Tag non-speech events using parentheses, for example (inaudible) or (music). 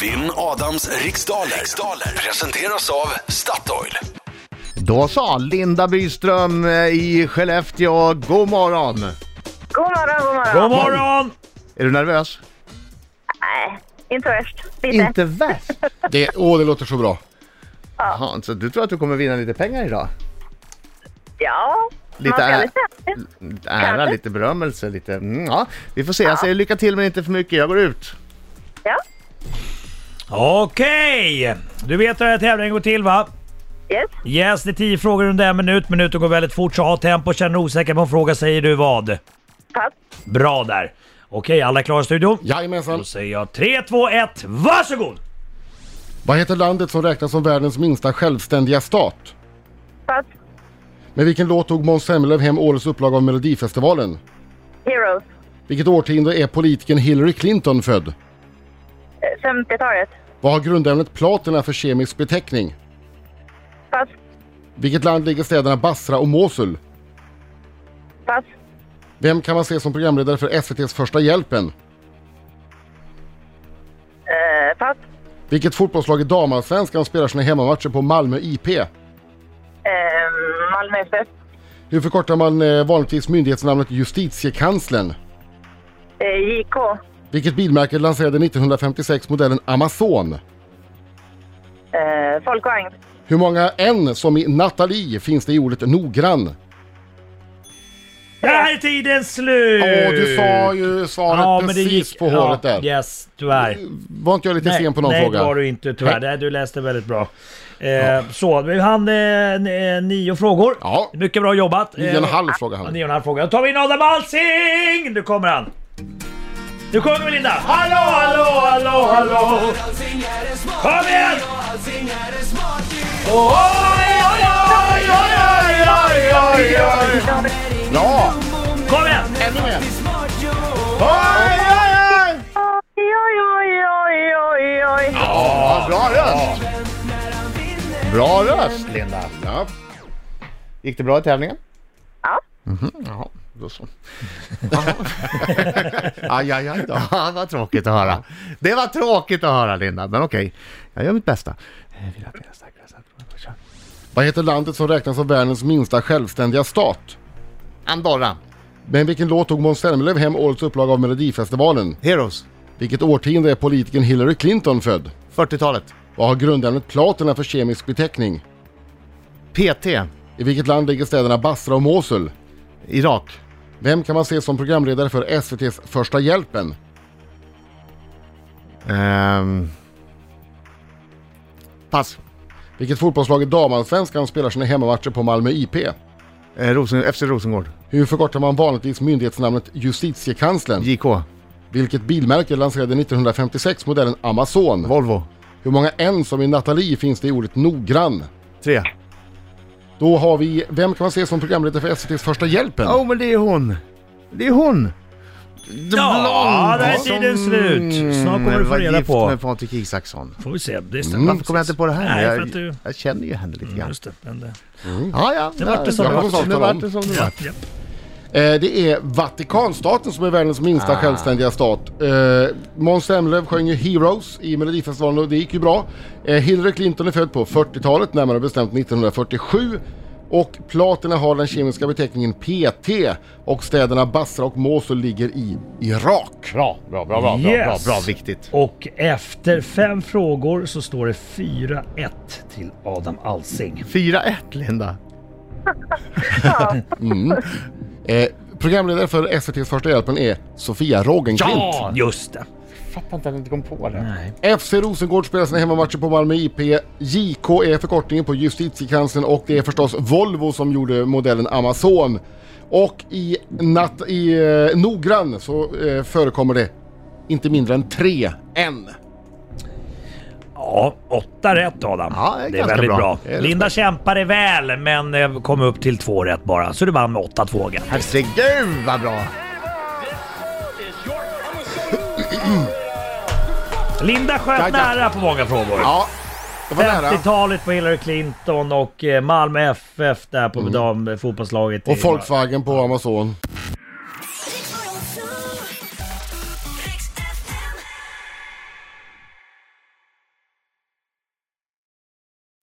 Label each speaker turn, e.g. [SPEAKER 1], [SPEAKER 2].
[SPEAKER 1] Vinn Adams riksdaler. riksdaler presenteras av Statoil.
[SPEAKER 2] Då sa Linda Byström eh, i Skellefteå, god morgon!
[SPEAKER 3] God morgon, god morgon.
[SPEAKER 4] God morgon!
[SPEAKER 2] Är du nervös?
[SPEAKER 3] Nej, inte värst. Lite.
[SPEAKER 2] Inte värst!
[SPEAKER 5] Det, åh, det låter så bra.
[SPEAKER 2] Jaha, så du tror att du kommer vinna lite pengar idag?
[SPEAKER 3] Ja,
[SPEAKER 2] Lite
[SPEAKER 3] man ska
[SPEAKER 2] är-
[SPEAKER 3] väl säga det.
[SPEAKER 2] Lite Ära, lite berömmelse, lite... Mm, ja. Vi får se, jag säger lycka till men inte för mycket, jag går ut.
[SPEAKER 3] Ja,
[SPEAKER 4] Okej! Du vet hur den här tävlingen går till va?
[SPEAKER 3] yes.
[SPEAKER 4] Yes, det är 10 frågor under en minut. Minuten går väldigt fort, så ha tempo. Känner du osäker på en fråga säger du vad?
[SPEAKER 3] Pass.
[SPEAKER 4] Bra där. Okej, alla klara i studion?
[SPEAKER 5] Jajamensan.
[SPEAKER 4] Då säger jag 3, 2, 1, varsågod!
[SPEAKER 5] Vad heter landet som räknas som världens minsta självständiga stat?
[SPEAKER 3] Pass.
[SPEAKER 5] Med vilken låt tog Måns Zelmerlöw hem årets upplaga av Melodifestivalen?
[SPEAKER 3] Heroes.
[SPEAKER 5] Vilket årtionde är politikern Hillary Clinton född?
[SPEAKER 3] Eh, 50-talet.
[SPEAKER 5] Vad har grundämnet platina för kemisk beteckning?
[SPEAKER 3] Pass.
[SPEAKER 5] Vilket land ligger städerna Basra och Mosul?
[SPEAKER 3] Pass.
[SPEAKER 5] Vem kan man se som programledare för SVTs Första hjälpen?
[SPEAKER 3] Eh, pass.
[SPEAKER 5] Vilket fotbollslag i damallsvenskan spelar sina hemmamatcher på Malmö IP?
[SPEAKER 3] Eh, Malmö FF.
[SPEAKER 5] Hur förkortar man eh, vanligtvis myndighetsnamnet Justitiekanslern?
[SPEAKER 3] Eh, JK.
[SPEAKER 5] Vilket bilmärke lanserade 1956 modellen Amazon?
[SPEAKER 3] Eh, folkvagn.
[SPEAKER 5] Hur många N som i Nathalie finns det i ordet noggrann?
[SPEAKER 4] Där är tiden slut!
[SPEAKER 5] Åh, du sa ju svaret precis på håret där.
[SPEAKER 4] Yes, tyvärr.
[SPEAKER 5] Var inte jag lite sen på någon
[SPEAKER 4] nej,
[SPEAKER 5] fråga?
[SPEAKER 4] det var du inte tyvärr. Nej. Du läste väldigt bra. Eh, Så, vi hann eh, n- eh, nio frågor.
[SPEAKER 5] Ja.
[SPEAKER 4] Mycket bra jobbat.
[SPEAKER 5] Nio och en
[SPEAKER 4] Eh,
[SPEAKER 5] halv fråga
[SPEAKER 4] Ja,
[SPEAKER 5] han.
[SPEAKER 4] nio och en halv fråga. Då tar vi in Adam Alsing! Nu kommer han. Nu kommer vi Linda! Hallå, hallå, hallå, hallå! Kom igen! Oj, oj, oj, oj, oj, oj, oj!
[SPEAKER 5] Ja!
[SPEAKER 4] Kom igen!
[SPEAKER 5] Ännu mer!
[SPEAKER 3] Oj, oj, oj, oj, oj, oj.
[SPEAKER 2] Ja, bra röst! Bra röst Linda!
[SPEAKER 5] Ja.
[SPEAKER 2] Gick det bra i tävlingen?
[SPEAKER 3] Ja.
[SPEAKER 2] Mhm, jaha, då (laughs) så.
[SPEAKER 5] Aj, aj, aj då.
[SPEAKER 2] Ja, vad tråkigt att höra. Det var tråkigt att höra Linda, men okej. Jag gör mitt bästa.
[SPEAKER 4] Eh,
[SPEAKER 5] Vad heter landet som räknas som världens minsta självständiga stat?
[SPEAKER 2] Andorra,
[SPEAKER 5] Men vilken låt tog Måns Zelmerlöw hem årets upplaga av Melodifestivalen?
[SPEAKER 2] Heroes,
[SPEAKER 5] Vilket årtionde är politikern Hillary Clinton född?
[SPEAKER 2] 40-talet,
[SPEAKER 5] Vad har grundämnet platina för kemisk beteckning?
[SPEAKER 2] PT,
[SPEAKER 5] I vilket land ligger städerna Basra och Mosul?
[SPEAKER 2] Irak,
[SPEAKER 5] Vem kan man se som programledare för SVTs Första hjälpen?
[SPEAKER 2] ehm, pass,
[SPEAKER 5] Vilket fotbollslag i damallsvenskan spelar sina hemmamatcher på Malmö IP?
[SPEAKER 2] eh, Rosen, FC Rosengård,
[SPEAKER 5] Hur förkortar man vanligtvis myndighetsnamnet Justitiekanslern?
[SPEAKER 2] JK,
[SPEAKER 5] Vilket bilmärke lanserade 1956 modellen Amazon?
[SPEAKER 2] Volvo,
[SPEAKER 5] Hur många N som i Nathalie finns det i ordet noggrann?
[SPEAKER 2] 3.
[SPEAKER 5] Då har vi, vem kan man se som programledare för SVTs Första hjälpen?
[SPEAKER 2] Ja, oh, men det är hon. Det är hon.
[SPEAKER 4] Ja, där är tiden slut. Snart kommer du få reda
[SPEAKER 2] Jag
[SPEAKER 4] på.
[SPEAKER 2] med Patrik Isaksson.
[SPEAKER 4] Får vi se. Det stämmer.
[SPEAKER 2] Varför Mm, kommer jag inte på det här?
[SPEAKER 4] Nej, för
[SPEAKER 2] jag,
[SPEAKER 4] att du...
[SPEAKER 2] jag känner ju henne lite
[SPEAKER 4] Ja,
[SPEAKER 2] grann.
[SPEAKER 4] Just det. Men det...
[SPEAKER 2] Ja, ja.
[SPEAKER 4] Det vart det som
[SPEAKER 2] ja,
[SPEAKER 4] det
[SPEAKER 2] ja,
[SPEAKER 5] vart.
[SPEAKER 2] Det vart det som det
[SPEAKER 4] Ja,
[SPEAKER 2] vart.
[SPEAKER 4] ja.
[SPEAKER 5] Eh, det är Vatikanstaten som är världens minsta självständiga stat. Eh, Måns Zelmerlöw sjöng ju Heroes i Melodifestivalen och det gick ju bra. Eh, Hillary Clinton är född på 40-talet, närmare bestämt 1947. Och platina har den kemiska beteckningen PT och städerna Basra och Mosul ligger i Irak.
[SPEAKER 2] Bra, bra, bra, bra, bra, bra,
[SPEAKER 4] Yes.
[SPEAKER 2] bra, viktigt.
[SPEAKER 4] Och efter fem frågor så står det 4-1 till Adam Alsing.
[SPEAKER 2] 4-1 Linda.
[SPEAKER 5] Eh, programledare för SVTs Första Hjälpen är Sofia Rogenklint.
[SPEAKER 4] Just det.
[SPEAKER 2] Fattar inte att jag inte kom på det.
[SPEAKER 4] Nej.
[SPEAKER 5] FC Rosengård spelar sina hemmamatcher på Malmö IP. JK är förkortningen på Justitiekanslern och det är förstås Volvo som gjorde modellen Amazon. Och i, natt, i eh, Noggrann så eh, förekommer det inte mindre än tre N.
[SPEAKER 4] Ja, åtta rätt Adam.
[SPEAKER 2] Ja, det är ganska
[SPEAKER 4] väldigt
[SPEAKER 2] bra.
[SPEAKER 4] bra.
[SPEAKER 2] Det är
[SPEAKER 4] Linda kämpade väl men eh, kom upp till två rätt bara. Så du vann med 8-2. Gert.
[SPEAKER 2] Herregud vad bra!
[SPEAKER 4] Linda sköt
[SPEAKER 5] Ja, ja.
[SPEAKER 4] nära på många frågor.
[SPEAKER 5] Ja, det var nära.
[SPEAKER 4] 50-talet på Hillary Clinton och eh, Malmö FF där på mm. fotbollslaget.
[SPEAKER 5] Och Volkswagen på Amazon.